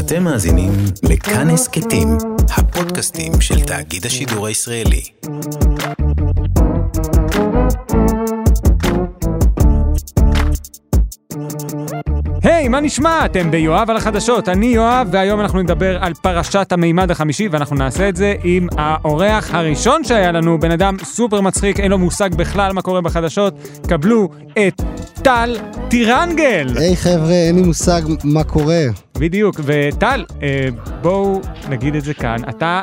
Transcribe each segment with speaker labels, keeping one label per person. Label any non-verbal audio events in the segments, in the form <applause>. Speaker 1: אתם מאזינים לכאן הסכתים, הפודקאסטים של תאגיד השידור הישראלי.
Speaker 2: היי, מה נשמע? אתם ביואב על החדשות, אני יואב, והיום אנחנו נדבר על פרשת המימד החמישי, ואנחנו נעשה את זה עם האורח הראשון שהיה לנו, בן אדם סופר מצחיק, אין לו מושג בכלל מה קורה בחדשות. קבלו את טל טירנגל!
Speaker 3: היי חבר'ה, אין לי מושג מה קורה.
Speaker 2: בדיוק, וטל, אה, בואו נגיד את זה כאן, אתה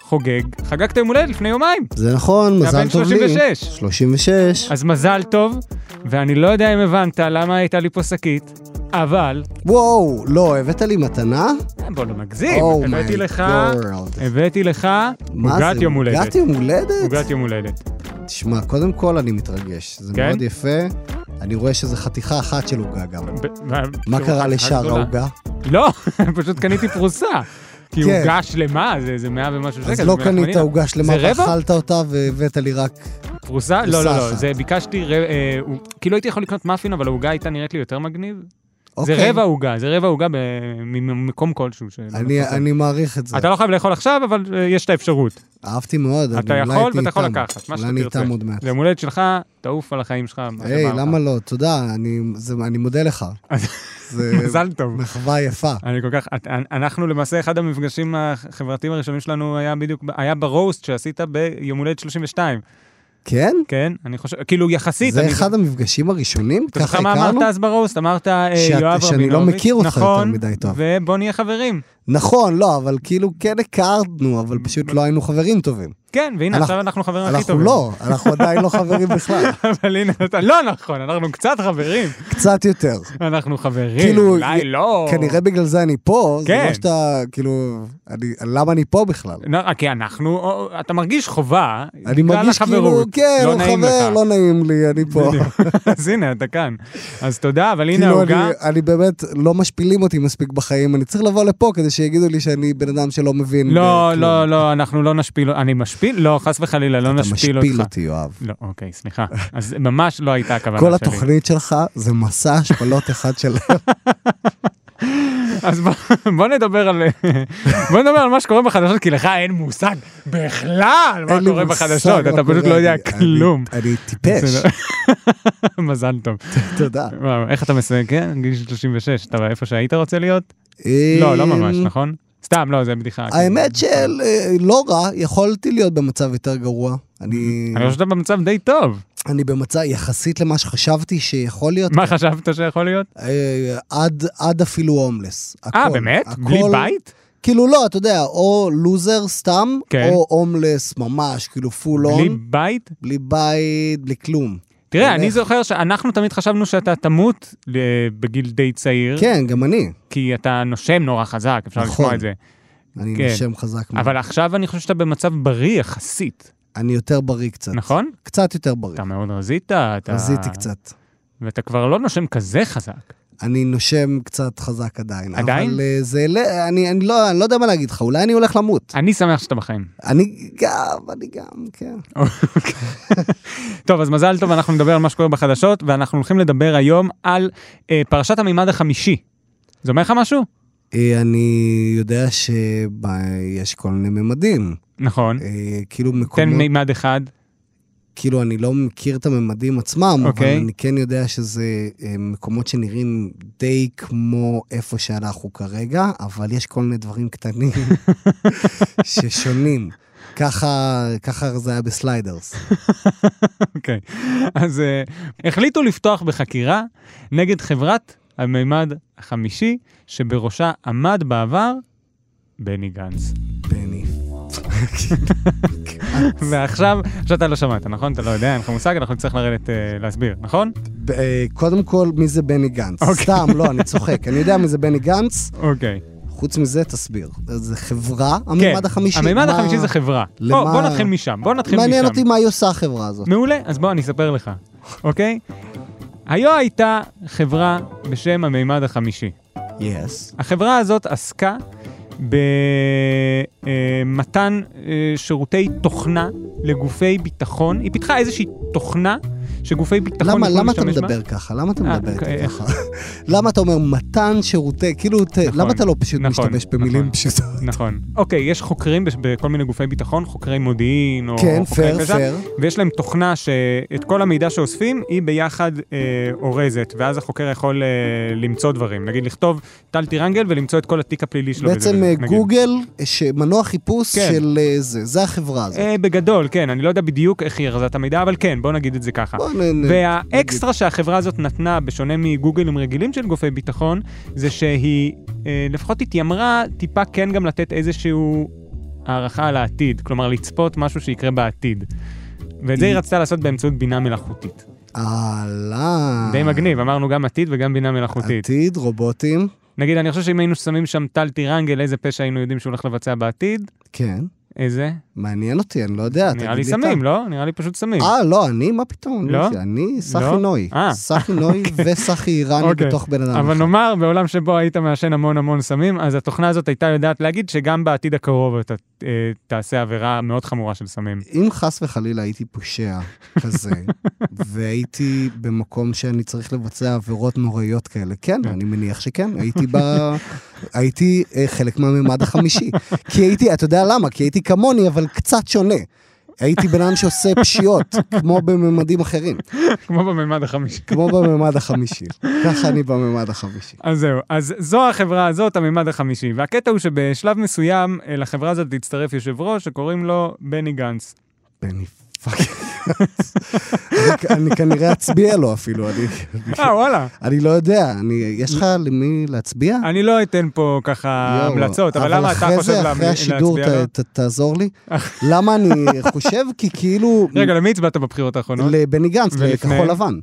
Speaker 2: חוגג, חגגת יום הולדת לפני יומיים.
Speaker 3: זה נכון,
Speaker 2: אתה בן
Speaker 3: מזל טוב לי.
Speaker 2: 36.
Speaker 3: 36.
Speaker 2: אז מזל טוב, ואני לא יודע אם הבנת למה הייתה לי פה שקית, אבל...
Speaker 3: וואו, לא, הבאת לי מתנה?
Speaker 2: בוא לא נגזים,
Speaker 3: Oh
Speaker 2: הבאתי
Speaker 3: my
Speaker 2: לך,
Speaker 3: God.
Speaker 2: הבאתי לך
Speaker 3: מה
Speaker 2: עוגת
Speaker 3: זה,
Speaker 2: יום הולדת.
Speaker 3: עוגת יום הולדת?
Speaker 2: עוגת יום הולדת.
Speaker 3: תשמע, קודם כל אני מתרגש, זה
Speaker 2: כן?
Speaker 3: מאוד יפה. אני רואה שזו חתיכה אחת של עוגה גם.
Speaker 2: ב- ב-
Speaker 3: מה קרה
Speaker 2: עוגה
Speaker 3: לשאר
Speaker 2: גדולה.
Speaker 3: העוגה?
Speaker 2: לא, <laughs> פשוט קניתי פרוסה. כי
Speaker 3: כן.
Speaker 2: עוגה שלמה, זה זה מאה ומשהו שקל.
Speaker 3: אז
Speaker 2: זה
Speaker 3: לא
Speaker 2: מלחמניה.
Speaker 3: קנית עוגה שלמה,
Speaker 2: זה רבע?
Speaker 3: ואכלת אותה והבאת לי רק...
Speaker 2: פרוסה? לא, לא,
Speaker 3: פרוסה
Speaker 2: לא,
Speaker 3: אחת.
Speaker 2: זה ביקשתי, ר- אה, הוא- כאילו הייתי יכול לקנות מאפין, אבל העוגה הייתה נראית לי יותר מגניב. זה
Speaker 3: אוקיי.
Speaker 2: רבע עוגה, זה רבע עוגה ב- ממקום כלשהו. שלא
Speaker 3: אני-
Speaker 2: מפרסם.
Speaker 3: אני מעריך את זה.
Speaker 2: אתה לא חייב לאכול עכשיו, אבל אה, יש את האפשרות.
Speaker 3: אהבתי מאוד, אני
Speaker 2: אתה
Speaker 3: אולי
Speaker 2: יכול
Speaker 3: הייתי
Speaker 2: ואתה יכול
Speaker 3: איתם.
Speaker 2: לקחת, מה
Speaker 3: אולי אני
Speaker 2: שתרצה.
Speaker 3: איתם עוד מעט.
Speaker 2: זה יום הולדת שלך, תעוף על החיים שלך. מה
Speaker 3: היי,
Speaker 2: שבא לך.
Speaker 3: למה לא? תודה, אני, זה, אני מודה לך. זה
Speaker 2: מזל טוב.
Speaker 3: מחווה יפה.
Speaker 2: אני כל כך, את- אנחנו למעשה, אחד המפגשים החברתיים הראשונים שלנו היה בדיוק, ב- היה ברוסט שעשית ביום הולדת 32,
Speaker 3: כן?
Speaker 2: כן? אני חושב, כאילו יחסית,
Speaker 3: זה
Speaker 2: אני-
Speaker 3: אחד המפגשים הראשונים?
Speaker 2: אתה
Speaker 3: ככה
Speaker 2: זוכר מה אמרת
Speaker 3: הכרנו?
Speaker 2: אז ברוסט? אמרת אה,
Speaker 3: שאת-
Speaker 2: יואב רבינוביץ',
Speaker 3: שאני לא מכיר אותך יותר
Speaker 2: נכון,
Speaker 3: מדי טוב.
Speaker 2: ובוא נהיה חברים.
Speaker 3: נכון, לא, אבל כאילו כן הכרנו, אבל פשוט לא היינו חברים טובים.
Speaker 2: כן, והנה,
Speaker 3: אנחנו-
Speaker 2: עכשיו אנחנו חברים הכי
Speaker 3: אנחנו
Speaker 2: טובים.
Speaker 3: לא, אנחנו עדיין לא חברים בכלל.
Speaker 2: <laughs> אבל הנה, אתה- לא נכון, אנחנו קצת חברים.
Speaker 3: קצת יותר.
Speaker 2: אנחנו חברים,
Speaker 3: כאילו,
Speaker 2: אולי לא.
Speaker 3: כנראה בגלל זה אני פה, זה
Speaker 2: כן.
Speaker 3: לא שאתה, כאילו, אני- למה אני פה בכלל?
Speaker 2: לא, כי אנחנו, או, אתה מרגיש חובה,
Speaker 3: אני
Speaker 2: בגלל
Speaker 3: מרגיש כאילו,
Speaker 2: החברות.
Speaker 3: כן,
Speaker 2: לא
Speaker 3: הוא
Speaker 2: נעים
Speaker 3: חבר,
Speaker 2: לך.
Speaker 3: לא נעים לי, אני פה. <laughs>
Speaker 2: בדיוק. <laughs> אז הנה, אתה כאן. אז תודה, אבל הנה
Speaker 3: כאילו,
Speaker 2: העוגה.
Speaker 3: אני, אני באמת, לא משפילים אותי מספיק בחיים, אני צריך לבוא לפה כדי שיגידו לי שאני בן אדם שלא מבין.
Speaker 2: לא,
Speaker 3: בכלום.
Speaker 2: לא, לא, אנחנו לא נשפיל, אני משפיל? לא, חס וחלילה, לא
Speaker 3: כאילו. אתה
Speaker 2: נשפיל
Speaker 3: משפיל
Speaker 2: אותך.
Speaker 3: אותי, יואב.
Speaker 2: לא, אוקיי, סליחה. אז ממש לא הייתה הכוונה שלי.
Speaker 3: כל התוכנית שלך זה מסע השפלות
Speaker 2: <laughs>
Speaker 3: אחד של...
Speaker 2: אז בוא- בוא נדבר על <laughs> בוא נדבר על מה שקורה בחדשות, כי לך אין מושג בכלל מה
Speaker 3: אין לי
Speaker 2: קורה
Speaker 3: מושג
Speaker 2: בחדשות,
Speaker 3: מה
Speaker 2: אתה פשוט
Speaker 3: קורה,
Speaker 2: לא יודע
Speaker 3: אני-
Speaker 2: כלום. <laughs>
Speaker 3: אני- אני טיפש,
Speaker 2: בסדר. מזל טוב.
Speaker 3: <laughs> תודה.
Speaker 2: וואו, איך אתה מסיים? כן, גיל 36, אתה איפה שהיית רוצה להיות? לא, לא ממש,
Speaker 3: אמ,
Speaker 2: נכון? סתם, לא, זה בדיחה.
Speaker 3: האמת
Speaker 2: כאילו.
Speaker 3: שלא רע, יכולתי להיות במצב יותר גרוע. אני,
Speaker 2: אני לא חושב שאתה במצב די טוב.
Speaker 3: אני במצב, יחסית למה שחשבתי שיכול להיות,
Speaker 2: מה חשבת שיכול להיות?
Speaker 3: אה, עד, עד אפילו הומלס.
Speaker 2: אה,
Speaker 3: הכל,
Speaker 2: באמת?
Speaker 3: הכל-
Speaker 2: בלי בית?
Speaker 3: כאילו לא, אתה יודע, או לוזר סתם,
Speaker 2: כן.
Speaker 3: או הומלס ממש, כאילו פול
Speaker 2: בלי
Speaker 3: און,
Speaker 2: בית?
Speaker 3: בלי בית, בלי כלום.
Speaker 2: תראה,
Speaker 3: הולך.
Speaker 2: אני זוכר שאנחנו תמיד חשבנו שאתה תמות אה, בגיל די צעיר,
Speaker 3: כן, גם אני.
Speaker 2: כי אתה נושם נורא חזק, אפשר
Speaker 3: נכון.
Speaker 2: לשמוע את זה.
Speaker 3: אני
Speaker 2: כן.
Speaker 3: נושם חזק מאוד.
Speaker 2: אבל עכשיו אני חושב שאתה במצב בריא יחסית,
Speaker 3: אני יותר בריא קצת.
Speaker 2: נכון?
Speaker 3: קצת יותר בריא.
Speaker 2: אתה מאוד רזית, אתה...
Speaker 3: רזיתי קצת.
Speaker 2: ואתה כבר לא נושם כזה חזק.
Speaker 3: אני נושם קצת חזק עדיין.
Speaker 2: עדיין?
Speaker 3: אבל אה, זה, לא- אני, אני, לא, אני לא יודע מה להגיד לך, אולי אני הולך למות.
Speaker 2: אני שמח שאתה בחיים.
Speaker 3: אני גם, אני גם, כן.
Speaker 2: טוב, אז מזל טוב, אנחנו נדבר על מה שקורה בחדשות, ואנחנו הולכים לדבר היום על אה, פרשת המימד החמישי. זה אומר לך משהו?
Speaker 3: אה, אני יודע שיש כל מיני ממדים.
Speaker 2: נכון.
Speaker 3: אה, כאילו
Speaker 2: תן
Speaker 3: מקומות,
Speaker 2: מימד אחד.
Speaker 3: כאילו אני לא מכיר את הממדים עצמם, אבל
Speaker 2: אוקיי.
Speaker 3: אני כן יודע שזה אה, מקומות שנראים די כמו איפה שאנחנו כרגע, אבל יש כל מיני דברים
Speaker 2: <laughs>
Speaker 3: קטנים ששונים. ככה, ככה זה היה בסליידרס.
Speaker 2: אוקיי. אז אה, החליטו לפתוח בחקירה נגד חברת המימד החמישי, שבראשה עמד בעבר בני גנץ. <laughs>
Speaker 3: בני. <laughs>
Speaker 2: ועכשיו, עכשיו אתה לא שמעת, נכון? אתה לא יודע, אין לך מושג, אנחנו נצטרך לרדת אה, להסביר, נכון?
Speaker 3: ב- אה, קודם כל, מי זה בני גנץ?
Speaker 2: אוקיי.
Speaker 3: סתם, לא, אני צוחק. אני יודע מי זה בני גנץ,
Speaker 2: אוקיי.
Speaker 3: חוץ מזה, תסביר. זה חברה,
Speaker 2: כן,
Speaker 3: הממד החמישי.
Speaker 2: המימד
Speaker 3: מה-
Speaker 2: החמישי זה חברה.
Speaker 3: למה-
Speaker 2: בוא, בוא נתחיל משם, בוא נתחיל משם.
Speaker 3: מעניין אותי מה היא עושה החברה הזאת.
Speaker 2: מעולה, אז בוא, אני אספר לך, אוקיי? היו הייתה חברה בשם המימד החמישי.
Speaker 3: יס.
Speaker 2: החברה הזאת עסקה אה, במתן שירותי תוכנה לגופי ביטחון. היא פיתחה איזושהי תוכנה שגופי ביטחון
Speaker 3: למה,
Speaker 2: יוכלו
Speaker 3: למה אתה
Speaker 2: להשתמש בה?
Speaker 3: מדבר ככה? למה אתה
Speaker 2: אה,
Speaker 3: מדבר
Speaker 2: אוקיי.
Speaker 3: ככה? למה אתה אומר מתן שירותי, כאילו, ת-
Speaker 2: נכון,
Speaker 3: למה אתה לא פשוט
Speaker 2: נכון,
Speaker 3: משתמש במילים
Speaker 2: נכון.
Speaker 3: פשוטות?
Speaker 2: נכון. אוקיי, יש חוקרים בש- בכל מיני גופי ביטחון, חוקרי מודיעין או
Speaker 3: כן,
Speaker 2: חוקרי
Speaker 3: fair,
Speaker 2: כזה,
Speaker 3: fair.
Speaker 2: ויש להם תוכנה שאת כל המידע שאוספים, היא ביחד אה, אורזת, ואז החוקר יכול אה, למצוא דברים. נגיד, לכתוב טל טירנגל ולמצוא את כל התיק הפלילי שלו. וזה
Speaker 3: בעצם
Speaker 2: וזה,
Speaker 3: אה,
Speaker 2: לא נגיד.
Speaker 3: גוגל, אה, ש- מנוע חיפוש
Speaker 2: כן.
Speaker 3: של אה, זה, זה החברה הזאת.
Speaker 2: אה, בגדול, כן, אני לא יודע בדיוק איך היא ארזה את המידע, אבל כן, בוא נגיד את זה ככה.
Speaker 3: בוא נ- נ-
Speaker 2: והאקסטרה שהחברה הזאת נתנה, בשונה מגוגלים רגילים של גופי ביטחון, זה שהיא אה, לפחות התיימרה טיפה כן גם לתת איזשהו הערכה על העתיד, כלומר לצפות משהו שיקרה בעתיד. ואת זה היא
Speaker 3: היא-
Speaker 2: רצתה לעשות באמצעות בינה מלאכותית.
Speaker 3: אהלן.
Speaker 2: די מגניב, אמרנו גם עתיד וגם בינה מלאכותית.
Speaker 3: אה. עתיד, רובוטים,
Speaker 2: נגיד, אני חושב שאם היינו שמים שם טל טירנגל, איזה פשע היינו יודעים שהוא הולך לבצע בעתיד?
Speaker 3: כן.
Speaker 2: איזה?
Speaker 3: מעניין אותי, אני לא יודע.
Speaker 2: נראה
Speaker 3: תגיד
Speaker 2: לי
Speaker 3: אתה.
Speaker 2: סמים, לא? נראה לי פשוט סמים.
Speaker 3: אה, לא, אני? מה פתאום?
Speaker 2: לא?
Speaker 3: אני
Speaker 2: לא?
Speaker 3: סחי נוי.
Speaker 2: אה.
Speaker 3: סחי
Speaker 2: <laughs>
Speaker 3: נוי וסחי איראני
Speaker 2: אוקיי.
Speaker 3: בתוך בן אדם.
Speaker 2: אבל
Speaker 3: אחד.
Speaker 2: נאמר, בעולם שבו היית מעשן המון המון סמים, אז התוכנה הזאת הייתה יודעת להגיד שגם בעתיד הקרוב אתה אה, תעשה עבירה מאוד חמורה של
Speaker 3: <laughs>
Speaker 2: סמים.
Speaker 3: אם חס וחלילה הייתי פושע כזה, והייתי במקום שאני צריך לבצע עבירות נוראיות כאלה, כן, אני מניח שכן, הייתי ב... הייתי אה, חלק מהמימד החמישי. כי הייתי, אתה יודע למה? כי הייתי כמוני, אבל קצת שונה. הייתי בן אדם שעושה פשיעות, כמו בממדים אחרים,
Speaker 2: כמו בממד החמישי.
Speaker 3: כמו בממד החמישי. ככה אני בממד החמישי.
Speaker 2: אז זהו, אז זו החברה הזאת, הממד החמישי. והקטע הוא שבשלב מסוים אה, לחברה הזאת הצטרף יושב ראש שקוראים לו בני
Speaker 3: <laughs>
Speaker 2: גנץ.
Speaker 3: בני פאקינג. אני- אני כנראה אצביע לו אפילו, אני...
Speaker 2: אה, וואלה.
Speaker 3: אני לא יודע, אני, יש לך למי להצביע?
Speaker 2: אני לא אתן פה ככה
Speaker 3: יואו,
Speaker 2: המלצות, אבל למה אתה
Speaker 3: אחרי
Speaker 2: חושב
Speaker 3: זה,
Speaker 2: לה-
Speaker 3: אחרי השידור
Speaker 2: להצביע לו?
Speaker 3: ת, ת, תעזור
Speaker 2: <laughs>
Speaker 3: לי. למה אני חושב? כי כאילו...
Speaker 2: רגע, למי הצבעת בבחירות האחרונות?
Speaker 3: לבני גנץ,
Speaker 2: ולפני-
Speaker 3: לכחול לבן.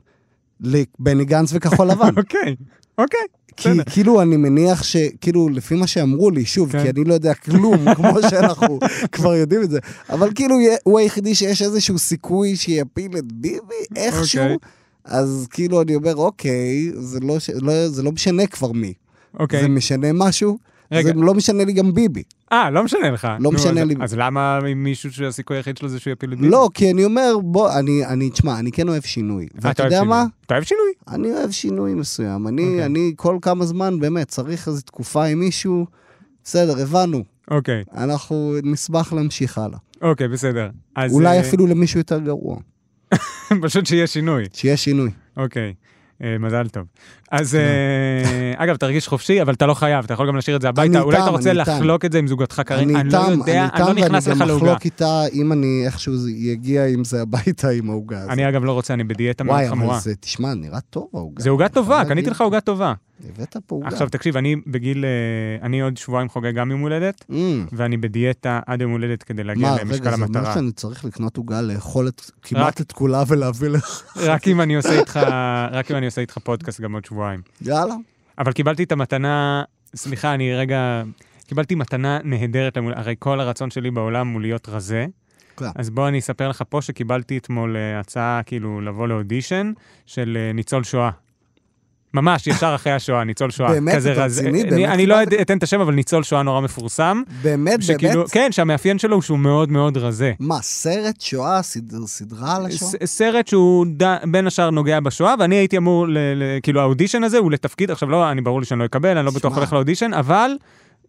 Speaker 3: לבני גנץ
Speaker 2: <laughs>
Speaker 3: וכחול לבן.
Speaker 2: אוקיי, אוקיי.
Speaker 3: כי
Speaker 2: בסדר.
Speaker 3: כאילו אני מניח ש... כאילו, לפי מה שאמרו לי, שוב,
Speaker 2: כן.
Speaker 3: כי אני לא יודע כלום, <laughs> כמו שאנחנו כבר יודעים את זה, אבל כאילו יה- הוא היחידי שיש איזשהו סיכוי שיפיל את ביבי איכשהו,
Speaker 2: אוקיי.
Speaker 3: אז כאילו אני אומר, אוקיי, זה לא, ש... לא, זה לא משנה כבר מי.
Speaker 2: אוקיי.
Speaker 3: זה משנה משהו?
Speaker 2: רגע.
Speaker 3: זה לא משנה לי גם ביבי.
Speaker 2: אה, לא משנה לך. נו,
Speaker 3: משנה
Speaker 2: אז-
Speaker 3: לי.
Speaker 2: אז למה אם מישהו שהסיכוי היחיד שלו זה שהוא יפיל את ביבי?
Speaker 3: לא, כי אני אומר, בוא, אני, אני, תשמע, אני כן אוהב שינוי.
Speaker 2: אה, אתה
Speaker 3: ואתה
Speaker 2: אוהב
Speaker 3: יודע
Speaker 2: שינוי.
Speaker 3: מה?
Speaker 2: אתה אוהב שינוי?
Speaker 3: אני אוהב שינוי מסוים.
Speaker 2: אוקיי.
Speaker 3: אני, אני כל כמה זמן, באמת, צריך איזו תקופה עם מישהו. בסדר, הבנו.
Speaker 2: אוקיי,
Speaker 3: אנחנו נשמח להמשיך הלאה.
Speaker 2: אוקיי, בסדר. אז,
Speaker 3: אולי
Speaker 2: אה,
Speaker 3: אפילו למישהו יותר גרוע.
Speaker 2: <laughs> פשוט שיהיה שינוי.
Speaker 3: שיהיה שינוי.
Speaker 2: אוקיי. אה, מזל טוב.
Speaker 3: כן.
Speaker 2: אז אה, אגב, תרגיש חופשי, אבל אתה לא חייב, אתה יכול גם להשאיר את זה הביתה.
Speaker 3: אני
Speaker 2: אולי אתה
Speaker 3: איתם,
Speaker 2: רוצה
Speaker 3: אני איתם.
Speaker 2: לחלוק את זה עם זוגתך כרגע,
Speaker 3: אני
Speaker 2: אני לא
Speaker 3: איתם,
Speaker 2: יודע,
Speaker 3: אני
Speaker 2: אני לא
Speaker 3: איתם, ואני
Speaker 2: נכנס לך
Speaker 3: גם
Speaker 2: לעוגה.
Speaker 3: אחלוק איתה אם אני איכשהו זה יגיע עם זה הביתה עם העוגה הזאת.
Speaker 2: אני אגב לא רוצה, אני בדיאטה מאוד
Speaker 3: וואי,
Speaker 2: חמורה.
Speaker 3: אבל זה, תשמע, נראה טוב העוגה.
Speaker 2: זה עוגה טובה,
Speaker 3: אבל
Speaker 2: קניתי
Speaker 3: אני-
Speaker 2: לך עוגה טובה.
Speaker 3: הבאת פה עוגה.
Speaker 2: עכשיו תקשיב, אני בגיל, אה, אני עוד שבועיים חוגג גם יום הולדת,
Speaker 3: Mm.
Speaker 2: ואני בדיאטה עד יום הולדת כדי להגיע
Speaker 3: מה, רגע,
Speaker 2: למשקל
Speaker 3: זה אומר
Speaker 2: המטרה.
Speaker 3: שאני צריך לקנות עוגה, לאכול את- כמעט את כולה ולהביא לך?
Speaker 2: רק אם אני עושה איתך, רק אם אני עושה איתך פודקאסט גם עוד שבועיים.
Speaker 3: <laughs> יאללה.
Speaker 2: אבל קיבלתי את המתנה, סליחה, אני רגע, קיבלתי מתנה נהדרת, למול- הרי כל הרצון שלי בעולם הוא להיות רזה.
Speaker 3: כן.
Speaker 2: אז בוא אני אספר לך פה שקיבלתי אתמול אה, הצעה כאילו לבוא לאודישן של אה, ניצול שואה. ממש, ישר אחרי השואה, ניצול שואה.
Speaker 3: באמת?
Speaker 2: כזה
Speaker 3: אתה
Speaker 2: רזה.
Speaker 3: רציני?
Speaker 2: אני-
Speaker 3: באמת
Speaker 2: אני לא
Speaker 3: קיבלת?
Speaker 2: אתן את השם, אבל ניצול שואה נורא מפורסם.
Speaker 3: באמת,
Speaker 2: שכאילו-
Speaker 3: באמת?
Speaker 2: כן, שהמאפיין שלו הוא שהוא מאוד מאוד רזה.
Speaker 3: מה, סרט שואה, סד- סדרה על השואה?
Speaker 2: ס- סרט שהוא ד- בין השאר נוגע בשואה, ואני הייתי אמור, ל- ל- כאילו האודישן הזה הוא לתפקיד, עכשיו לא, אני ברור לי שאני לא אקבל, אני לא בטוח
Speaker 3: שמע.
Speaker 2: הולך לאודישן, אבל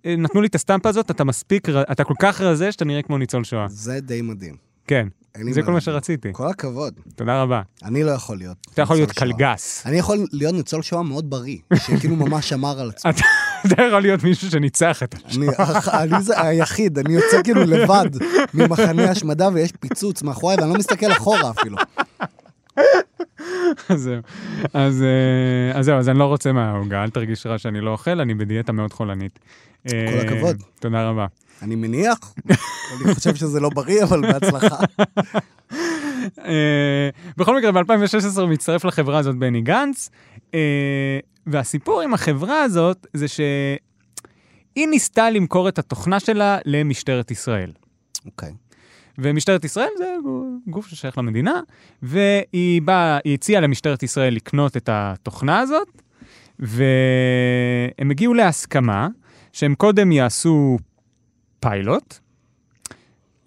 Speaker 2: אה, נתנו לי את הסטמפה הזאת, אתה מספיק, ר- אתה כל כך רזה שאתה נראה כמו ניצול שואה.
Speaker 3: זה די מדהים.
Speaker 2: כן,
Speaker 3: אין לי
Speaker 2: זה
Speaker 3: מה
Speaker 2: כל מה
Speaker 3: להגיד.
Speaker 2: שרציתי.
Speaker 3: כל הכבוד.
Speaker 2: תודה רבה.
Speaker 3: אני לא יכול להיות.
Speaker 2: אתה יכול להיות
Speaker 3: ניצול שואה.
Speaker 2: קלגס.
Speaker 3: אני יכול להיות ניצול שואה מאוד בריא, שכאילו ממש שמר על
Speaker 2: <laughs>
Speaker 3: עצמו.
Speaker 2: אתה אתה יכול להיות מישהו שניצח את השואה.
Speaker 3: אני, הח- אני זה היחיד, אני יוצא כאילו לבד ממחנה השמדה ויש פיצוץ מאחוריי ואני לא מסתכל אחורה אפילו.
Speaker 2: זהו. אז אה, אז זהו, אז אני לא רוצה מהעוגה, אל תרגיש רע שאני לא אוכל, אני בדיאטה מאוד חולנית. אה,
Speaker 3: הכבוד.
Speaker 2: תודה רבה.
Speaker 3: אני מניח, אני חושב שזה לא בריא, אבל
Speaker 2: <laughs>
Speaker 3: בהצלחה.
Speaker 2: אה, בכל מקרה, ב-2016 מצטרף לחברה הזאת בני גנץ, אה, והסיפור עם החברה הזאת זה שהיא ניסתה למכור את התוכנה שלה למשטרת ישראל.
Speaker 3: אוקיי.
Speaker 2: ומשטרת ישראל זה גוף ששייך למדינה, והיא באה, היא הציעה למשטרת ישראל לקנות את התוכנה הזאת, והם הגיעו להסכמה שהם קודם יעשו פיילוט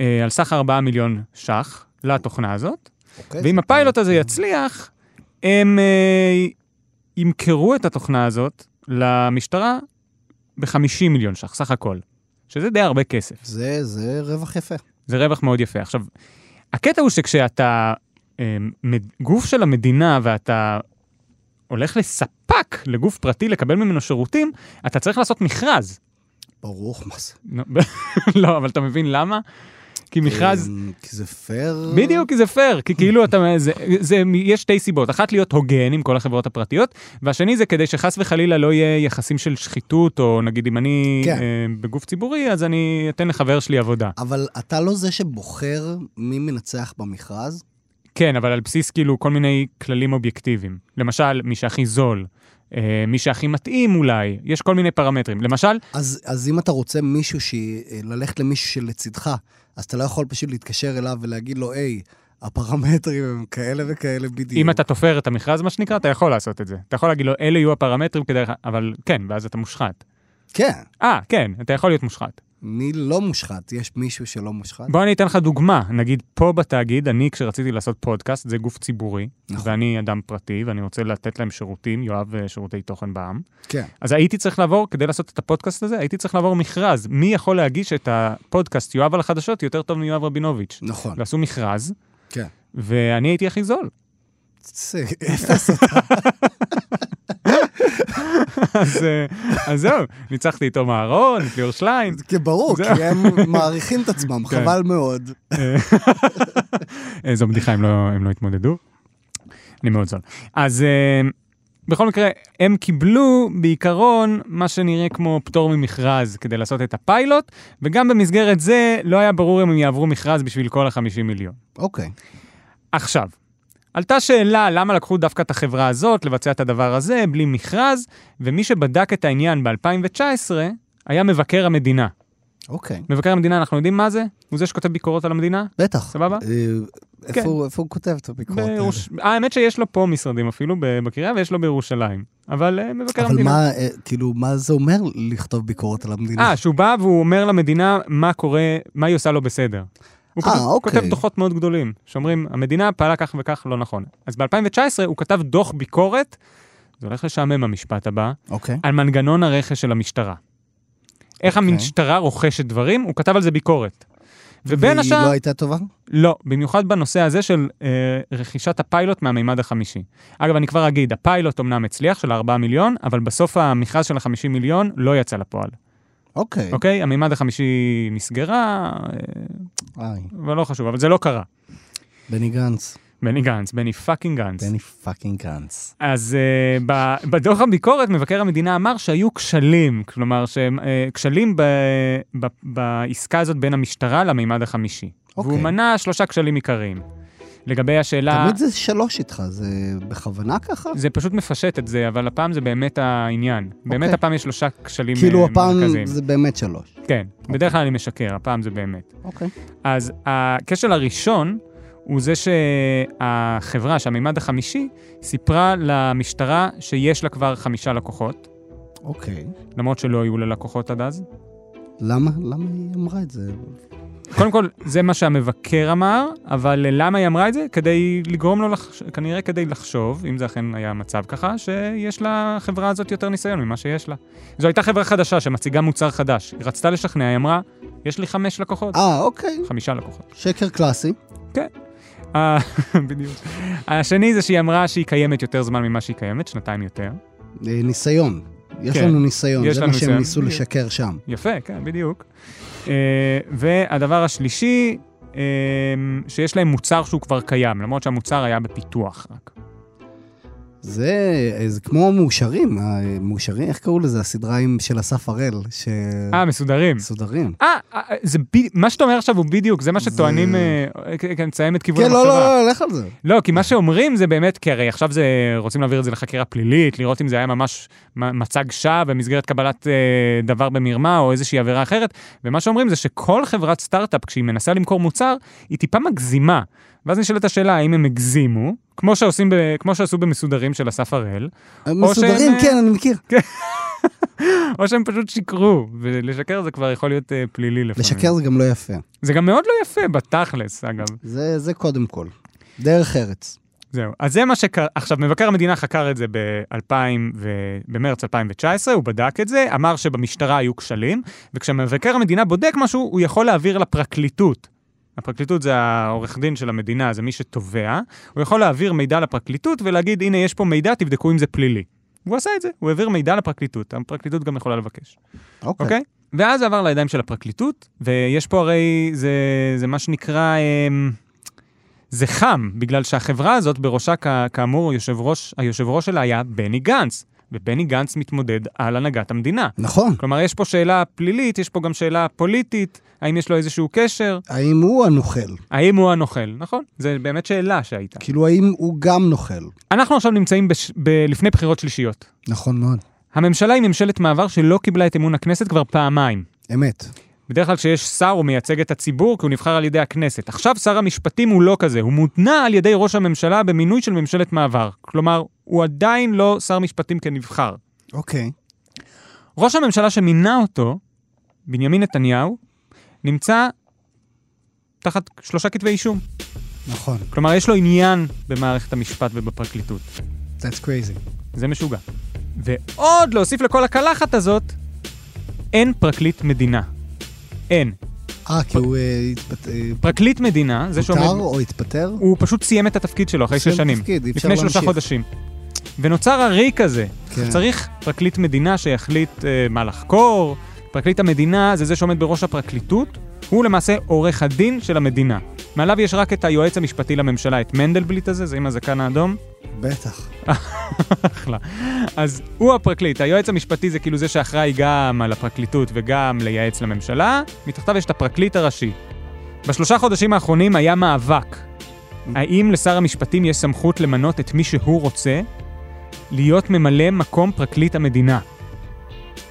Speaker 2: אה, על סך 4 מיליון ש"ח לתוכנה הזאת,
Speaker 3: אוקיי,
Speaker 2: ואם
Speaker 3: זה-
Speaker 2: הפיילוט הזה יצליח, הם אה, ימכרו את התוכנה הזאת למשטרה ב-50 מיליון ש"ח, סך הכל, שזה די הרבה כסף.
Speaker 3: זה, זה רווח יפה.
Speaker 2: זה רווח מאוד יפה. עכשיו, הקטע הוא שכשאתה אה, מד- גוף של המדינה ואתה הולך לספק, לגוף פרטי, לקבל ממנו שירותים, אתה צריך לעשות מכרז.
Speaker 3: ברור, מה זה?
Speaker 2: נו, <laughs> לא, אבל אתה מבין למה? כי מכרז...
Speaker 3: אמ, כי זה פייר.
Speaker 2: בדיוק, כי זה פייר, כי כאילו אתה, זה, זה, יש שתי סיבות, אחת להיות הוגן עם כל החברות הפרטיות, והשני זה כדי שחס וחלילה לא יהיה יחסים של שחיתות, או נגיד אם אני
Speaker 3: כן.
Speaker 2: אה, בגוף ציבורי, אז אני אתן לחבר שלי עבודה.
Speaker 3: אבל אתה לא זה שבוחר מי מנצח במכרז?
Speaker 2: כן, אבל על בסיס כאילו כל מיני כללים אובייקטיביים. למשל, מי שהכי זול, אה, מי שהכי מתאים אולי, יש כל מיני פרמטרים. למשל,
Speaker 3: אז, אז אם אתה רוצה מישהו, ש... ללכת למישהו שלצידך, אז אתה לא יכול פשוט להתקשר אליו ולהגיד לו, היי, הפרמטרים הם כאלה וכאלה בדיוק.
Speaker 2: אם אתה תופר את המכרז, מה שנקרא, אתה יכול לעשות את זה. אתה יכול להגיד לו, אלה יהיו הפרמטרים כדי... אבל כן, ואז אתה מושחת.
Speaker 3: כן,
Speaker 2: אה, כן, אתה יכול להיות מושחת.
Speaker 3: מי לא מושחת? יש מישהו שלא מושחת?
Speaker 2: בוא אני אתן לך דוגמה. נגיד, פה בתאגיד, אני, כשרציתי לעשות פודקאסט, זה גוף ציבורי,
Speaker 3: נכון.
Speaker 2: ואני אדם פרטי, ואני רוצה לתת להם שירותים, יואב אה, שירותי תוכן בעם.
Speaker 3: כן.
Speaker 2: אז הייתי צריך לעבור, כדי לעשות את הפודקאסט הזה, הייתי צריך לעבור מכרז. מי יכול להגיש את הפודקאסט יואב על החדשות יותר טוב מיואב רבינוביץ'.
Speaker 3: נכון,
Speaker 2: ועשו מכרז,
Speaker 3: כן.
Speaker 2: ואני הייתי הכי זול. <laughs>
Speaker 3: זה <laughs> אפס.
Speaker 2: אז, אה, אז זהו, ניצחתי את תום אהרון, את ליאור שליין.
Speaker 3: כי ברור,
Speaker 2: זה-
Speaker 3: כי הם מעריכים את עצמם,
Speaker 2: כן.
Speaker 3: חבל מאוד.
Speaker 2: אה, זו בדיחה, הם לא, הם לא התמודדו. אני מאוד זול. אז אה, בכל מקרה, הם קיבלו בעיקרון מה שנראה כמו פטור ממכרז כדי לעשות את הפיילוט, וגם במסגרת זה לא היה ברור אם הם יעברו מכרז בשביל כל ה-50 מיליון.
Speaker 3: אוקיי.
Speaker 2: עכשיו, עלתה שאלה למה לקחו דווקא את החברה הזאת לבצע את הדבר הזה בלי מכרז, ומי שבדק את העניין ב-2019 היה מבקר המדינה.
Speaker 3: אוקיי.
Speaker 2: מבקר המדינה, אנחנו יודעים מה זה? הוא זה שכותב ביקורות על המדינה?
Speaker 3: בטח.
Speaker 2: סבבה?
Speaker 3: אה,
Speaker 2: כן.
Speaker 3: איפה הוא- איפה הוא כותב את הביקורות האלה?
Speaker 2: בירוש... אה, האמת שיש לו פה משרדים אפילו ב- בקריה ויש לו בירושלים, אבל אה, מבקר
Speaker 3: אבל
Speaker 2: המדינה.
Speaker 3: מה, אה, כאילו, מה זה אומר לכתוב ביקורות על המדינה?
Speaker 2: אה, שהוא בא והוא אומר למדינה מה קורה, מה היא עושה לא בסדר. הוא
Speaker 3: אה,
Speaker 2: פשוט
Speaker 3: אוקיי.
Speaker 2: כותב דוחות מאוד גדולים, שאומרים, המדינה פעלה כך וכך לא נכון. אז ב-2019 הוא כתב דוח ביקורת, זה הולך לשעמם המשפט הבא,
Speaker 3: אוקיי.
Speaker 2: על מנגנון הרכש של המשטרה. איך
Speaker 3: אוקיי.
Speaker 2: המשטרה רוכשת דברים, הוא כתב על זה ביקורת. ובין
Speaker 3: והיא
Speaker 2: השאר,
Speaker 3: לא הייתה טובה?
Speaker 2: לא, במיוחד בנושא הזה של אה, רכישת הפיילוט מהמימד החמישי. אגב, אני כבר אגיד, הפיילוט אמנם הצליח של 4 מיליון, אבל בסוף המכרז של ה-50 מיליון לא יצא לפועל,
Speaker 3: אוקיי.
Speaker 2: אוקיי? המימד החמישי נסגרה, אה,
Speaker 3: איי,
Speaker 2: אבל לא חשוב, אבל זה לא קרה.
Speaker 3: בני גנץ.
Speaker 2: בני גנץ, בני פאקינג גנץ.
Speaker 3: בני פאקינג גנץ.
Speaker 2: אז uh, ב, בדוח הביקורת מבקר המדינה אמר שהיו כשלים, כלומר שהם uh, כשלים ב, ב, בעסקה הזאת בין המשטרה למימד החמישי.
Speaker 3: אוקיי.
Speaker 2: והוא מנה שלושה כשלים עיקריים. לגבי השאלה...
Speaker 3: תמיד זה שלוש איתך, זה בכוונה ככה?
Speaker 2: אה. זה פשוט מפשט את זה, אבל הפעם זה באמת העניין. באמת הפעם יש שלושה כשלים
Speaker 3: אוקיי. כאילו
Speaker 2: אה,
Speaker 3: הפעם
Speaker 2: מרכזיים.
Speaker 3: זה אוקיי. באמת שלוש.
Speaker 2: כן, בדרך כלל אני משקר, הפעם זה באמת.
Speaker 3: אוקיי.
Speaker 2: אז הכשל הראשון הוא זה שהחברה, שהמימד החמישי, סיפרה למשטרה שיש לה כבר חמישה לקוחות,
Speaker 3: אוקיי.
Speaker 2: למרות שלא היו לה לקוחות עד אז.
Speaker 3: למה, למה היא אמרה את זה?
Speaker 2: קודם כל, זה מה שהמבקר אמר, אבל למה היא אמרה את זה? כדי לגרום לו, לחש... כנראה כדי לחשוב, אם זה אכן היה המצב ככה, שיש לחברה הזאת יותר ניסיון ממה שיש לה. זו הייתה חברה חדשה שמציגה מוצר חדש. היא רצתה לשכנע, היא אמרה, יש לי חמש לקוחות.
Speaker 3: אה, אוקיי.
Speaker 2: חמישה לקוחות.
Speaker 3: שקר קלאסי.
Speaker 2: אה, <laughs> בדיוק. השני זה שהיא אמרה שהיא קיימת יותר זמן ממה שהיא קיימת, שנתיים יותר.
Speaker 3: אה, ניסיון. יש
Speaker 2: כן.
Speaker 3: לנו ניסיון,
Speaker 2: יש
Speaker 3: זה
Speaker 2: לנו
Speaker 3: מה שהם
Speaker 2: ניסיון.
Speaker 3: ניסו
Speaker 2: בדיוק.
Speaker 3: לשקר שם.
Speaker 2: יפה, כן, בדיוק. אה, והדבר השלישי, אה, שיש להם מוצר שהוא כבר קיים, למרות שהמוצר היה בפיתוח רק.
Speaker 3: זה, אה, זה כמו מאושרים, אה, מאושרים, איך קראו לזה? הסדרה עם- של אסף הראל,
Speaker 2: אה, מסודרים.
Speaker 3: שמסודרים.
Speaker 2: אה, אה, זה ב- מה שאתה אומר עכשיו הוא בדיוק, זה מה שטוענים,
Speaker 3: זה-
Speaker 2: אה, כ- כן, תסיים את כיוון
Speaker 3: כן, לא, לא,
Speaker 2: המחשבה.
Speaker 3: לא, לך על זה.
Speaker 2: לא, כי מה שאומרים זה באמת, כי הרי עכשיו זה, רוצים להעביר את זה לחקירה פלילית, לראות אם זה היה ממש מ- מצג שווא במסגרת קבלת אה, דבר במרמה או איזושהי עבירה אחרת, ומה שאומרים זה שכל חברת סטארט-אפ, כשהיא מנסה למכור מוצר, היא טיפה מגזימה. ואז נשאלת השאלה האם הם הגזימו, כמו, שעושים ב- כמו שעשו במסודרים של אסף הראל,
Speaker 3: מסודרים,
Speaker 2: שהם,
Speaker 3: כן, אני מכיר.
Speaker 2: או שהם פשוט שיקרו, ולשקר זה כבר יכול להיות אה, פלילי לפעמים.
Speaker 3: לשקר זה גם לא יפה.
Speaker 2: זה גם מאוד לא יפה בתכלס, אגב.
Speaker 3: זה, זה קודם כל. דרך ארץ.
Speaker 2: זהו. אז זה מה שקרה. עכשיו, מבקר המדינה חקר את זה ב-2000 ו... במרץ 2019, הוא בדק את זה, אמר שבמשטרה היו כשלים, וכשמבקר המדינה בודק משהו, הוא יכול להעביר לפרקליטות. הפרקליטות זה העורך דין של המדינה, זה מי שתובע. הוא יכול להעביר מידע לפרקליטות ולהגיד, הנה, יש פה מידע, תבדקו אם זה פלילי. והוא עשה את זה, הוא העביר מידע לפרקליטות, הפרקליטות גם יכולה לבקש, אוקיי? Okay. Okay? ואז זה עבר לידיים של הפרקליטות, ויש פה הרי, זה, זה מה שנקרא... אמ... זה חם, בגלל שהחברה הזאת בראשה, כ- כאמור, יושב ראש, היושב ראש שלה היה בני גנץ, ובני גנץ מתמודד על הנהגת המדינה.
Speaker 3: נכון.
Speaker 2: כלומר, יש פה שאלה פלילית, יש פה גם שאלה פוליטית, האם יש לו איזשהו קשר,
Speaker 3: האם הוא הנוכל?
Speaker 2: האם הוא הנוכל, נכון? זה באמת שאלה שהייתה.
Speaker 3: כאילו, האם הוא גם נוכל?
Speaker 2: אנחנו עכשיו נמצאים בש... ב... לפני בחירות שלישיות.
Speaker 3: נכון מאוד.
Speaker 2: הממשלה היא ממשלת מעבר שלא קיבלה את אמון הכנסת כבר פעמיים.
Speaker 3: אמת.
Speaker 2: בדרך כלל כשיש שר הוא מייצג את הציבור כי הוא נבחר על ידי הכנסת. עכשיו שר המשפטים הוא לא כזה, הוא מותנע על ידי ראש הממשלה במינוי של ממשלת מעבר. כלומר, הוא עדיין לא שר משפטים כנבחר.
Speaker 3: אוקיי.
Speaker 2: ראש הממשלה שמינה אותו, בנימין נתניהו, נמצא תחת שלושה כתבי אישום.
Speaker 3: נכון.
Speaker 2: כלומר, יש לו עניין במערכת המשפט ובפרקליטות.
Speaker 3: That's crazy.
Speaker 2: זה משוגע. ועוד להוסיף לכל הקלחת הזאת, אין פרקליט מדינה. אין.
Speaker 3: אה, כי הוא אה, התפט- אה,
Speaker 2: פרקליט מדינה, זה
Speaker 3: פוטר
Speaker 2: שעומד...
Speaker 3: או התפטר?
Speaker 2: הוא פשוט סיים את התפקיד שלו אחרי
Speaker 3: סיים
Speaker 2: שש
Speaker 3: את
Speaker 2: שנים.
Speaker 3: התפקיד, אי אפשר
Speaker 2: לפני שלושה
Speaker 3: להמשיך.
Speaker 2: חודשים. ונוצר הריק הזה.
Speaker 3: כן.
Speaker 2: צריך פרקליט מדינה שיחליט אה, מה לחקור. פרקליט המדינה זה זה שעומד בראש הפרקליטות. הוא למעשה עורך הדין של המדינה. מעליו יש רק את היועץ המשפטי לממשלה, את מנדלבליט הזה, זה עם הזקן האדום.
Speaker 3: בטח.
Speaker 2: אחלה. אז הוא הפרקליט, היועץ המשפטי זה כאילו זה שאחראי גם על הפרקליטות וגם לייעץ לממשלה, מתחתיו יש את הפרקליט הראשי. בשלושה חודשים האחרונים היה מאבק. האם לשר המשפטים יש סמכות למנות את מי שהוא רוצה להיות ממלא מקום פרקליט המדינה?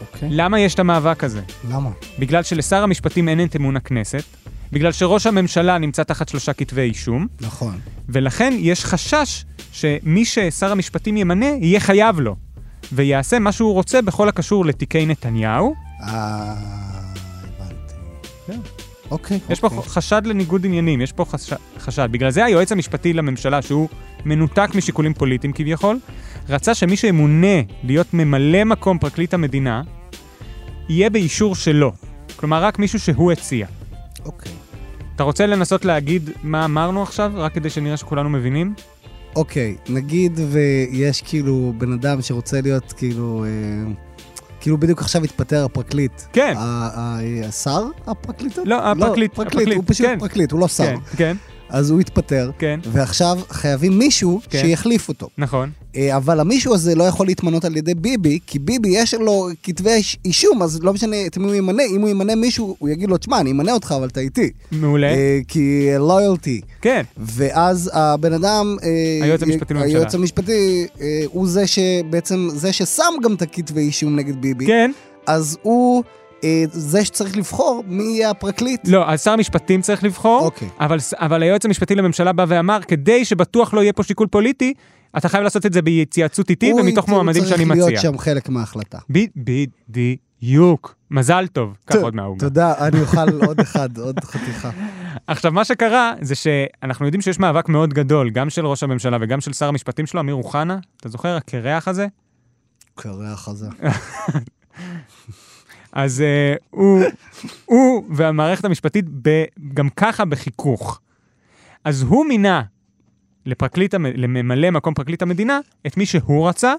Speaker 3: אוקיי.
Speaker 2: למה יש את המאבק הזה?
Speaker 3: למה?
Speaker 2: בגלל שלשר המשפטים אין את אמון הכנסת, בגלל שראש הממשלה נמצא תחת שלושה כתבי אישום,
Speaker 3: נכון.
Speaker 2: ולכן יש חשש שמי ששר המשפטים ימנה יהיה חייב לו, ויעשה מה שהוא רוצה בכל הקשור לתיקי נתניהו.
Speaker 3: אה... הבנתי.
Speaker 2: כן.
Speaker 3: אוקיי.
Speaker 2: יש פה
Speaker 3: אוקיי.
Speaker 2: חשד לניגוד עניינים, יש פה חש... חשד. בגלל זה היועץ המשפטי לממשלה, שהוא מנותק משיקולים פוליטיים כביכול, רצה שמי שימונה להיות ממלא מקום פרקליט המדינה, יהיה באישור שלו. כלומר, רק מישהו שהוא הציע.
Speaker 3: אוקיי.
Speaker 2: אתה רוצה לנסות להגיד מה אמרנו עכשיו, רק כדי שנראה שכולנו מבינים?
Speaker 3: אוקיי, נגיד ויש כאילו בן אדם שרוצה להיות כאילו... אה, כאילו בדיוק עכשיו התפטר הפרקליט.
Speaker 2: כן.
Speaker 3: ה- ה- השר? הפרקליטות?
Speaker 2: לא, הפרקליט,
Speaker 3: פרקליט,
Speaker 2: הפרקליט,
Speaker 3: הוא פשוט
Speaker 2: כן.
Speaker 3: פרקליט, הוא לא שר.
Speaker 2: כן, כן,
Speaker 3: אז הוא התפטר,
Speaker 2: כן,
Speaker 3: ועכשיו חייבים מישהו
Speaker 2: כן.
Speaker 3: שיחליף אותו.
Speaker 2: נכון.
Speaker 3: אה, אבל המישהו הזה לא יכול להתמנות על ידי ביבי, כי ביבי יש לו כתבי איש- אישום, אז לא משנה את מי הוא ימנה, אם הוא ימנה מישהו, הוא יגיד לו, תשמע, אני אמנה אותך, אבל אתה איתי.
Speaker 2: מעולה.
Speaker 3: אה, כי לויאלטי.
Speaker 2: כן,
Speaker 3: ואז הבן אדם, אה,
Speaker 2: היועץ המשפטי לממשלה.
Speaker 3: היועץ המשפטי, אה, הוא זה שבעצם, זה ששם גם את הכתבי אישום נגד ביבי,
Speaker 2: כן.
Speaker 3: אז הוא אה, זה שצריך לבחור מי יהיה הפרקליט.
Speaker 2: לא, אז שר המשפטים צריך לבחור,
Speaker 3: אוקיי.
Speaker 2: אבל ס- אבל היועץ המשפטי לממשלה בא ואמר, כדי שבטוח לא יהיה פה שיקול פוליטי, אתה חייב לעשות את זה בהתייעצות איתי
Speaker 3: הוא
Speaker 2: ומתוך
Speaker 3: הוא
Speaker 2: מועמדים שאני
Speaker 3: צריך
Speaker 2: מציע.
Speaker 3: להיות שם חלק מההחלטה.
Speaker 2: ב- בדיוק. מזל טוב. קח <laughs> עוד מהאומה.
Speaker 3: תודה, אני אוכל <laughs> עוד אחד, עוד חתיכה.
Speaker 2: עכשיו, מה שקרה זה שאנחנו יודעים שיש מאבק מאוד גדול, גם של ראש הממשלה וגם של שר המשפטים שלו, אמיר אוחנה, אתה זוכר, הקרח הזה?
Speaker 3: קרח
Speaker 2: <laughs>
Speaker 3: הזה.
Speaker 2: כן. אז uh, הוא, הוא והמערכת המשפטית ב, גם ככה בחיכוך. אז הוא מינה לפרקליט, המ- לממלא מקום פרקליט המדינה את מי שהוא רצה,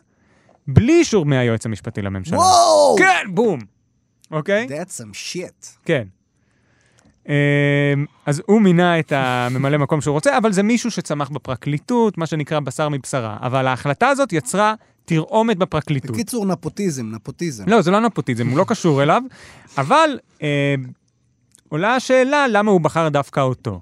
Speaker 2: בלי אישור מהיועץ המשפטי לממשלה.
Speaker 3: וואו!
Speaker 2: כן, בום! אוקיי?
Speaker 3: That's some shit.
Speaker 2: כן. אמ, אז הוא מינה את הממלא מקום שהוא רוצה, אבל זה מישהו שצמח בפרקליטות, מה שנקרא בשר מבשרה. אבל ההחלטה הזאת יצרה תרעומת בפרקליטות.
Speaker 3: בקיצור, נפוטיזם, נפוטיזם.
Speaker 2: לא, זה לא נפוטיזם, הוא לא קשור אליו, אבל אה, עולה השאלה למה הוא בחר דווקא אותו.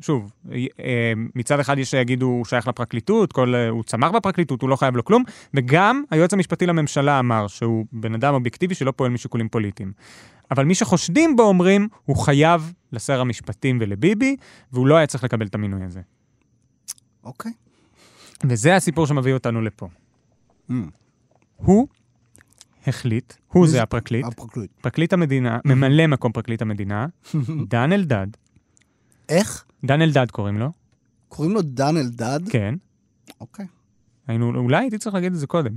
Speaker 2: שוב, אה, אה, מצד אחד יש שיגידו הוא שייך לפרקליטות, כל, אה, הוא צמח בפרקליטות, הוא לא חייב לו כלום, וגם היועץ המשפטי לממשלה אמר שהוא בן אדם אובייקטיבי שלא פועל משיקולים פוליטיים. אבל מי שחושדים בו אומרים, הוא חייב לשר המשפטים ולביבי, והוא לא היה צריך לקבל את המינוי הזה.
Speaker 3: אוקיי.
Speaker 2: וזה הסיפור שמביא אותנו לפה.
Speaker 3: Mm.
Speaker 2: אה. הוא החליט, הוא
Speaker 3: מי
Speaker 2: זה
Speaker 3: זה?
Speaker 2: הפרקליט,
Speaker 3: הפרקליט.
Speaker 2: פרקליט המדינה, ממלא
Speaker 3: <laughs>
Speaker 2: מקום פרקליט המדינה, דן אלדד,
Speaker 3: איך? <laughs>
Speaker 2: דן אלדד קוראים לו,
Speaker 3: קוראים לו דן אלדד?
Speaker 2: כן.
Speaker 3: אוקיי.
Speaker 2: היינו, אולי הייתי צריך להגיד את זה קודם.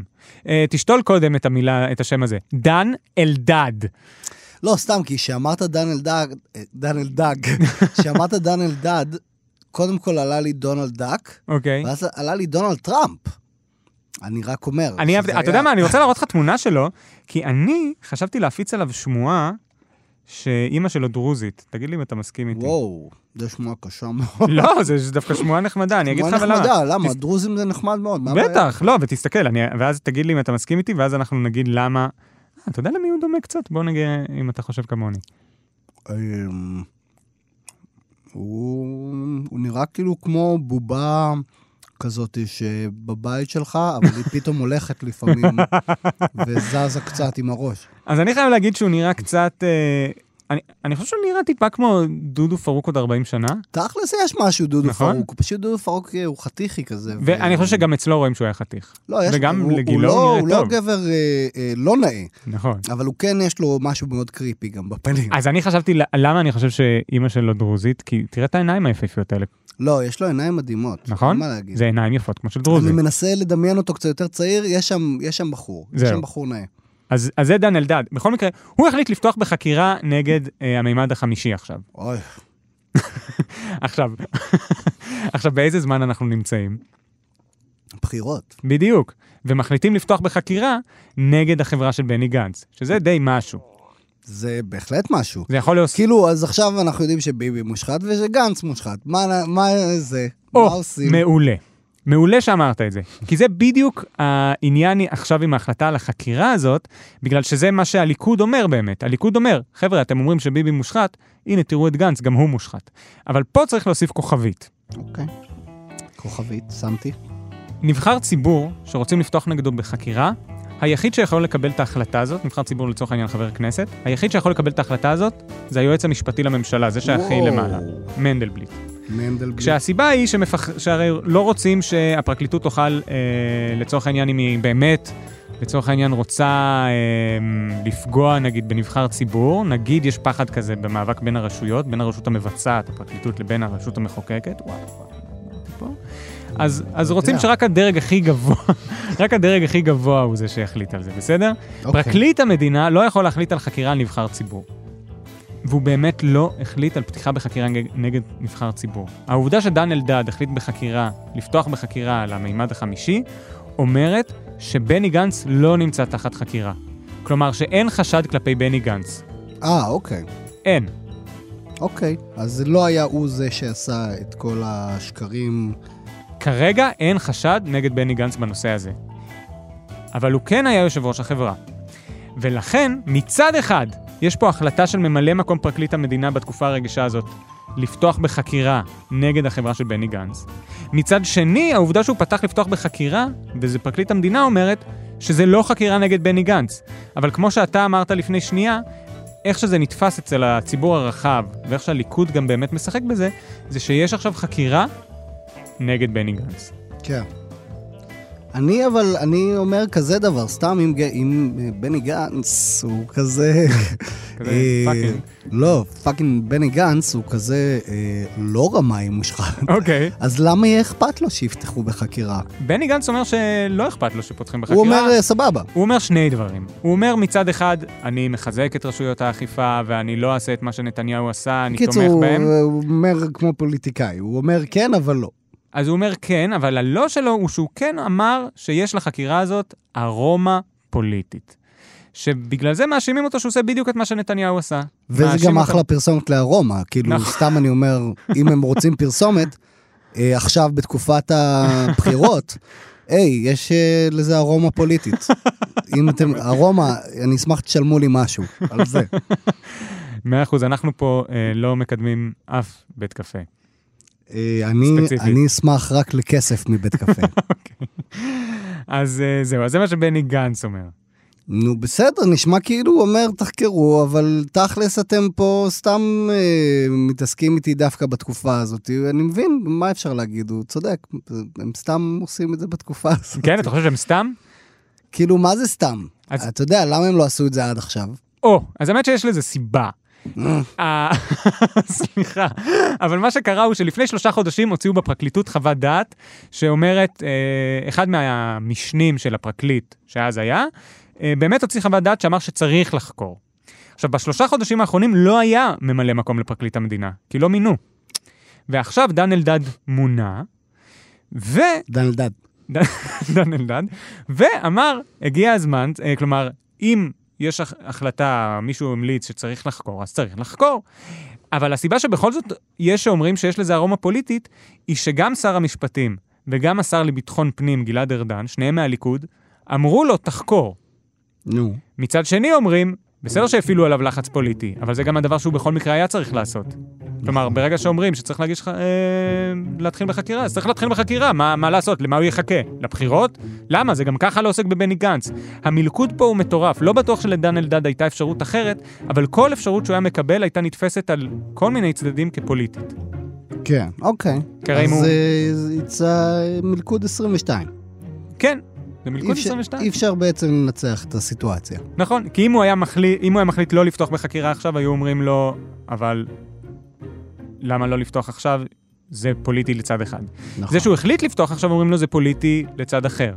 Speaker 2: אה, תשתול קודם את המילה, את השם הזה. דן אלדד.
Speaker 3: לא, סתם, כי כשאמרת דן אלדג, אה, דן אלדג,
Speaker 2: <laughs>
Speaker 3: כשאמרת דן אלדד, קודם כל עלה לי דונלד דאק,
Speaker 2: אוקיי.
Speaker 3: ואז עלה לי דונלד טראמפ. אני רק אומר.
Speaker 2: אני,
Speaker 3: שזה
Speaker 2: אהבתי- אתה
Speaker 3: היה-
Speaker 2: יודע מה, אני
Speaker 3: <laughs>
Speaker 2: רוצה להראות לך תמונה שלו, כי אני חשבתי להפיץ עליו שמועה שאימא שלו דרוזית. תגיד לי אם אתה מסכים איתי.
Speaker 3: וואו, זו שמועה קשה מאוד.
Speaker 2: <laughs> לא, זה זה דווקא שמועה נחמדה, <laughs> אני אגיד לך
Speaker 3: שמועה
Speaker 2: אבל למה.
Speaker 3: נחמדה, למה? דרוזים זה נחמד מאוד. מה הבעיה?
Speaker 2: בטח, לא, ותסתכל, אני, ואז תגיד לי אם אתה מסכים איתי, ואז אנחנו נגיד למה... אה, אתה יודע למי הוא דומה קצת? בוא נגיד אם אתה חושב כמוני.
Speaker 3: אמ, הוא הוא נראה כאילו כמו בובה כזאת שבבית שלך, אבל
Speaker 2: <laughs>
Speaker 3: היא פתאום הולכת לפעמים וזזה קצת עם הראש.
Speaker 2: אז אני חייב להגיד שהוא נראה קצת... אה, אני, אני חושב שהוא נראה טיפה כמו דודו פרוק עוד 40 שנה,
Speaker 3: תכל'ס יש משהו דודו
Speaker 2: נכון.
Speaker 3: פרוק, הוא פשוט דודו פרוק אה, הוא חתיכי כזה. ו-
Speaker 2: ואני חושב שגם אצלו רואים שהוא היה חתיך.
Speaker 3: לא, יש-
Speaker 2: וגם
Speaker 3: הוא- הוא
Speaker 2: לגילו
Speaker 3: לא-
Speaker 2: הוא
Speaker 3: הוא
Speaker 2: נראה
Speaker 3: לא
Speaker 2: טוב.
Speaker 3: גבר אה, אה, לא נאה,
Speaker 2: נכון.
Speaker 3: אבל הוא כן יש לו משהו מאוד קריפי גם בפנים.
Speaker 2: אז אני חשבתי, ל- למה אני חושב שאימא שלו דרוזית? כי תראה את העיניים היפהפיות האלה,
Speaker 3: לא, יש לו עיניים מדהימות.
Speaker 2: נכון?
Speaker 3: אין מה להגיד.
Speaker 2: זה עיניים יפות כמו של
Speaker 3: אני
Speaker 2: דרוזי.
Speaker 3: מנסה לדמיין אותו קצת יותר צעיר, יש שם- יש שם בחור. יש
Speaker 2: זהו.
Speaker 3: שם בחור נאה.
Speaker 2: אז, אז זה דן אלדד. בכל מקרה, הוא החליט לפתוח בחקירה נגד אה, המימד החמישי עכשיו.
Speaker 3: אוי.
Speaker 2: עכשיו, <laughs> עכשיו, באיזה זמן אנחנו נמצאים?
Speaker 3: בחירות.
Speaker 2: בדיוק. ומחליטים לפתוח בחקירה נגד החברה של בני גנץ, שזה די משהו.
Speaker 3: זה בהחלט משהו.
Speaker 2: זה יכול להוסיף...
Speaker 3: כאילו, אז עכשיו אנחנו יודעים שביבי מושחת ושגנץ מושחת. מה, מה זה? מה
Speaker 2: או,
Speaker 3: עושים?
Speaker 2: מעולה. מעולה שאמרת את זה, כי זה בדיוק העניין עכשיו עם ההחלטה על החקירה הזאת, בגלל שזה מה שהליכוד אומר באמת. הליכוד אומר, חבר'ה, אתם אומרים שביבי מושחת, הנה, תראו את גנץ, גם הוא מושחת. אבל פה צריך להוסיף כוכבית.
Speaker 3: אוקיי. כוכבית, שמתי.
Speaker 2: נבחר ציבור שרוצים לפתוח נגדו בחקירה, היחיד שיכול לקבל את ההחלטה הזאת, נבחר ציבור לצורך העניין חבר כנסת, היחיד שיכול לקבל את ההחלטה הזאת זה היועץ המשפטי לממשלה, זה שהכי
Speaker 3: וואו.
Speaker 2: למעלה, מנדלבליט.
Speaker 3: מנדלבליט.
Speaker 2: כשהסיבה היא שמפח... שהרי לא רוצים שהפרקליטות תוכל, אה, לצורך העניין, אם היא באמת, לצורך העניין, רוצה אה, לפגוע, נגיד, בנבחר ציבור, נגיד יש פחד כזה במאבק בין הרשויות, בין הרשות המבצעת, הפרקליטות, לבין הרשות המחוקקת, וואו, וואו, אמרתי פה. אז, אז רוצים שרק הדרג הכי גבוה, <laughs> רק הדרג הכי גבוה הוא זה שיחליט על זה, בסדר?
Speaker 3: אוקיי.
Speaker 2: פרקליט המדינה לא יכול להחליט על חקירה על נבחר ציבור. והוא באמת לא החליט על פתיחה בחקירה נג- נגד נבחר ציבור. העובדה שדן אלדד החליט בחקירה, לפתוח בחקירה על המימד החמישי, אומרת שבני גנץ לא נמצא תחת חקירה. כלומר שאין חשד כלפי בני גנץ.
Speaker 3: אה, אוקיי.
Speaker 2: אין.
Speaker 3: אוקיי. אז זה לא היה הוא זה שעשה את כל השקרים.
Speaker 2: כרגע אין חשד נגד בני גנץ בנושא הזה. אבל הוא כן היה יושב ראש החברה. ולכן, מצד אחד, יש פה החלטה של ממלא מקום פרקליט המדינה בתקופה הרגישה הזאת לפתוח בחקירה נגד החברה של בני גנץ. מצד שני, העובדה שהוא פתח לפתוח בחקירה, וזה פרקליט המדינה אומרת, שזה לא חקירה נגד בני גנץ. אבל כמו שאתה אמרת לפני שנייה, איך שזה נתפס אצל הציבור הרחב, ואיך שהליכוד גם באמת משחק בזה, זה שיש עכשיו חקירה נגד בני גנץ.
Speaker 3: כן. אני אבל, אני אומר כזה דבר, סתם אם, ג- אם אה, בני גנץ הוא כזה...
Speaker 2: כזה
Speaker 3: אה,
Speaker 2: פאקינג.
Speaker 3: לא, פאקינג בני גנץ הוא כזה אה, לא רמאי מושחת.
Speaker 2: אוקיי.
Speaker 3: אז למה יהיה אכפת לו שיפתחו בחקירה?
Speaker 2: בני גנץ אומר שלא אכפת לו שפותחים בחקירה.
Speaker 3: הוא אומר, "אה, סבבה.
Speaker 2: הוא אומר שני דברים. הוא אומר מצד אחד, אני מחזק את רשויות האכיפה ואני לא אעשה את מה שנתניהו עשה, אני
Speaker 3: קיצור, אה,
Speaker 2: תומך בהם.
Speaker 3: הוא אומר כמו פוליטיקאי, הוא אומר כן, אבל לא.
Speaker 2: אז הוא אומר כן, אבל הלא שלו הוא שהוא כן אמר שיש לחקירה הזאת ארומה פוליטית. שבגלל זה מאשימים אותו שהוא עושה בדיוק את מה שנתניהו עשה.
Speaker 3: וזה
Speaker 2: מאשים
Speaker 3: גם
Speaker 2: אותו-
Speaker 3: אחלה פרסומת לארומה, כאילו,
Speaker 2: נכון.
Speaker 3: סתם אני אומר, אם הם
Speaker 2: <laughs>
Speaker 3: רוצים פרסומת, אה, עכשיו בתקופת
Speaker 2: <laughs>
Speaker 3: הבחירות, היי, יש אה, לזה ארומה פוליטית. אם אתם, ארומה, אני אשמח שתשלמו לי משהו על זה.
Speaker 2: מאה אחוז, אנחנו פה אה, לא מקדמים אף בית קפה.
Speaker 3: אה, אני-
Speaker 2: ספציפית.
Speaker 3: אני אשמח רק לכסף מבית
Speaker 2: <laughs>
Speaker 3: קפה.
Speaker 2: אז אה, זהו, אז זה מה שבני גנץ אומר.
Speaker 3: נו בסדר, נשמע כאילו הוא אומר תחקרו, אבל תכלס אתם פה סתם אה, מתעסקים איתי דווקא בתקופה הזאת. אני מבין, מה אפשר להגיד? הוא צודק, הם סתם עושים את זה בתקופה הזאת.
Speaker 2: כן, אתה חושב שהם סתם?
Speaker 3: כאילו, מה זה סתם?
Speaker 2: אז-
Speaker 3: אתה יודע, למה הם לא עשו את זה עד עכשיו?
Speaker 2: או, אז האמת שיש לזה סיבה. אה, <laughs> סליחה, אבל מה שקרה הוא שלפני שלושה חודשים הוציאו בפרקליטות חוות דעת שאומרת, אה, אחד מהמשנים של הפרקליט שאז היה, אה, באמת הוציא חוות דעת שאמר שצריך לחקור. עכשיו, בשלושה חודשים האחרונים לא היה ממלא מקום לפרקליט המדינה, כי לא מינו. ועכשיו דן אלדד מונה, ו...
Speaker 3: דן אלדד.
Speaker 2: דן אלדד, ואמר, הגיע הזמן, אה, כלומר, אם יש הח- החלטה, מישהו המליץ שצריך לחקור, אז צריך לחקור. אבל הסיבה שבכל זאת יש שאומרים שיש לזה ארומה פוליטית, היא שגם שר המשפטים וגם השר לביטחון פנים גלעד ארדן, שניהם מהליכוד, אמרו לו, תחקור.
Speaker 3: נו.
Speaker 2: מצד שני אומרים, בסדר שהפעילו עליו לחץ פוליטי, אבל זה גם הדבר שהוא בכל מקרה היה צריך לעשות. כלומר,
Speaker 3: נכון.
Speaker 2: ברגע שאומרים שצריך להגיש, ח- אה, להתחיל בחקירה, אז צריך להתחיל בחקירה, מה, מה לעשות? למה הוא יחכה? לבחירות? למה? זה גם ככה לא עוסק בבני גנץ. המלכוד פה הוא מטורף, לא בטוח שלדן אלדד הייתה אפשרות אחרת, אבל כל אפשרות שהוא היה מקבל הייתה נתפסת על כל מיני צדדים כפוליטית.
Speaker 3: כן, אוקיי.
Speaker 2: כי הרי אם הוא...
Speaker 3: אז אה, it's a מלכוד 22.
Speaker 2: כן, זה מלכוד
Speaker 3: אי אפשר-
Speaker 2: 22.
Speaker 3: אי אפשר בעצם לנצח את הסיטואציה.
Speaker 2: נכון, כי אם הוא היה מחליט, אם הוא היה מחליט לא לפתוח בחקירה עכשיו, היו אומרים לו, אבל למה לא לפתוח עכשיו? זה פוליטי לצד אחד.
Speaker 3: נכון.
Speaker 2: זה שהוא החליט לפתוח עכשיו, אומרים לו זה פוליטי לצד אחר.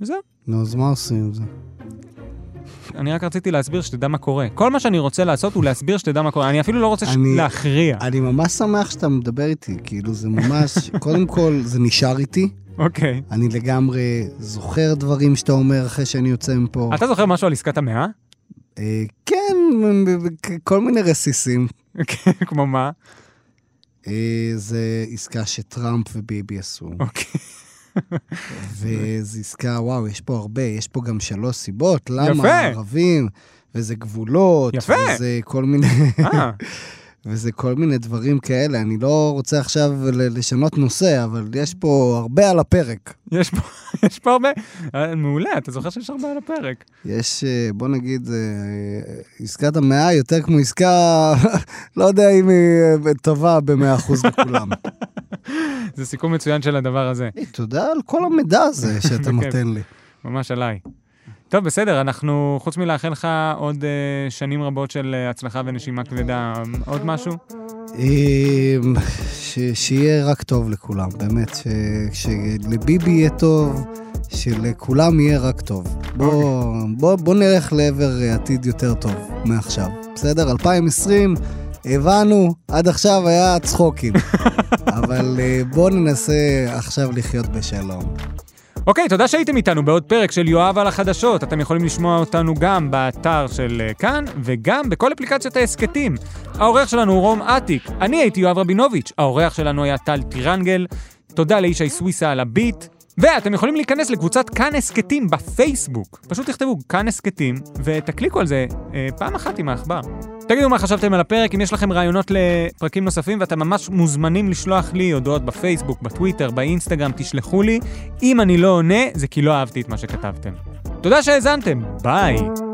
Speaker 2: וזהו,
Speaker 3: נו, אז מה עושים עם זה?
Speaker 2: אני רק רציתי להסביר שתדע מה קורה. כל מה שאני רוצה לעשות הוא להסביר שתדע מה קורה. אני אפילו לא רוצה ש-
Speaker 3: אני-
Speaker 2: להכריע.
Speaker 3: אני ממש שמח שאתה מדבר איתי, כאילו זה ממש, <laughs> קודם כל זה נשאר איתי,
Speaker 2: אוקיי.
Speaker 3: אני לגמרי זוכר דברים שאתה אומר אחרי שאני יוצא מפה.
Speaker 2: אתה זוכר משהו על עסקת המאה? <laughs>
Speaker 3: אה, כן, כל מיני רסיסים.
Speaker 2: אוקיי, כמו מה?
Speaker 3: אה, זה עסקה שטראמפ וביבי עשו, <laughs>
Speaker 2: אוקיי.
Speaker 3: וזו עסקה, וואו, יש פה הרבה, יש פה גם שלוש סיבות,
Speaker 2: יפה.
Speaker 3: למה ערבים, וזה גבולות,
Speaker 2: יפה.
Speaker 3: וזה כל מיני...
Speaker 2: אה,
Speaker 3: <laughs> וזה כל מיני דברים כאלה, אני לא רוצה עכשיו ל- לשנות נושא, אבל יש פה הרבה על הפרק.
Speaker 2: יש פה- <laughs> יש פה הרבה... אה, מעולה, אתה זוכר שיש הרבה על הפרק.
Speaker 3: יש, אה, בוא נגיד, אה, עסקת המאה יותר כמו עסקה, <laughs> לא יודע אם היא אה, טובה ב-100%
Speaker 2: <laughs>
Speaker 3: לכולם.
Speaker 2: זה סיכום מצוין של הדבר הזה.
Speaker 3: היי, תודה על כל המידע הזה שאתה
Speaker 2: בכיף.
Speaker 3: נותן לי.
Speaker 2: ממש עליי. טוב, בסדר, אנחנו, חוץ מלאחל לך עוד אה, שנים רבות של אה, הצלחה ונשימה כבדה, אמ, עוד משהו?
Speaker 3: אה, ש- שיהיה רק טוב לכולם, באמת, ש- שלביבי יהיה טוב, שלכולם יהיה רק טוב. בוא, בוא, בוא נלך לעבר אה, עתיד יותר טוב מעכשיו, בסדר? 2020, הבנו, עד עכשיו היה צחוקים, אבל אה, בוא ננסה עכשיו לחיות בשלום.
Speaker 2: אוקיי, תודה שהייתם איתנו בעוד פרק של יואב על החדשות. אתם יכולים לשמוע אותנו גם באתר של אה, כאן, וגם בכל אפליקציות ההסכתים. העורך שלנו הוא רום אטיק, אני הייתי יואב רבינוביץ', העורך שלנו היה טל טירנגל, תודה לישי סוויסה על הביט. ואתם יכולים להיכנס לקבוצת כאן הסכתים בפייסבוק. פשוט תכתבו כאן הסכתים, ותקליקו על זה אה, פעם אחת עם העכבר. תגידו מה חשבתם על הפרק, אם יש לכם רעיונות לפרקים נוספים ואתם ממש מוזמנים לשלוח לי הודעות בפייסבוק, בטוויטר, באינסטגרם, תשלחו לי. אם אני לא עונה, זה כי לא אהבתי את מה שכתבתם. תודה שהאזנתם, ביי.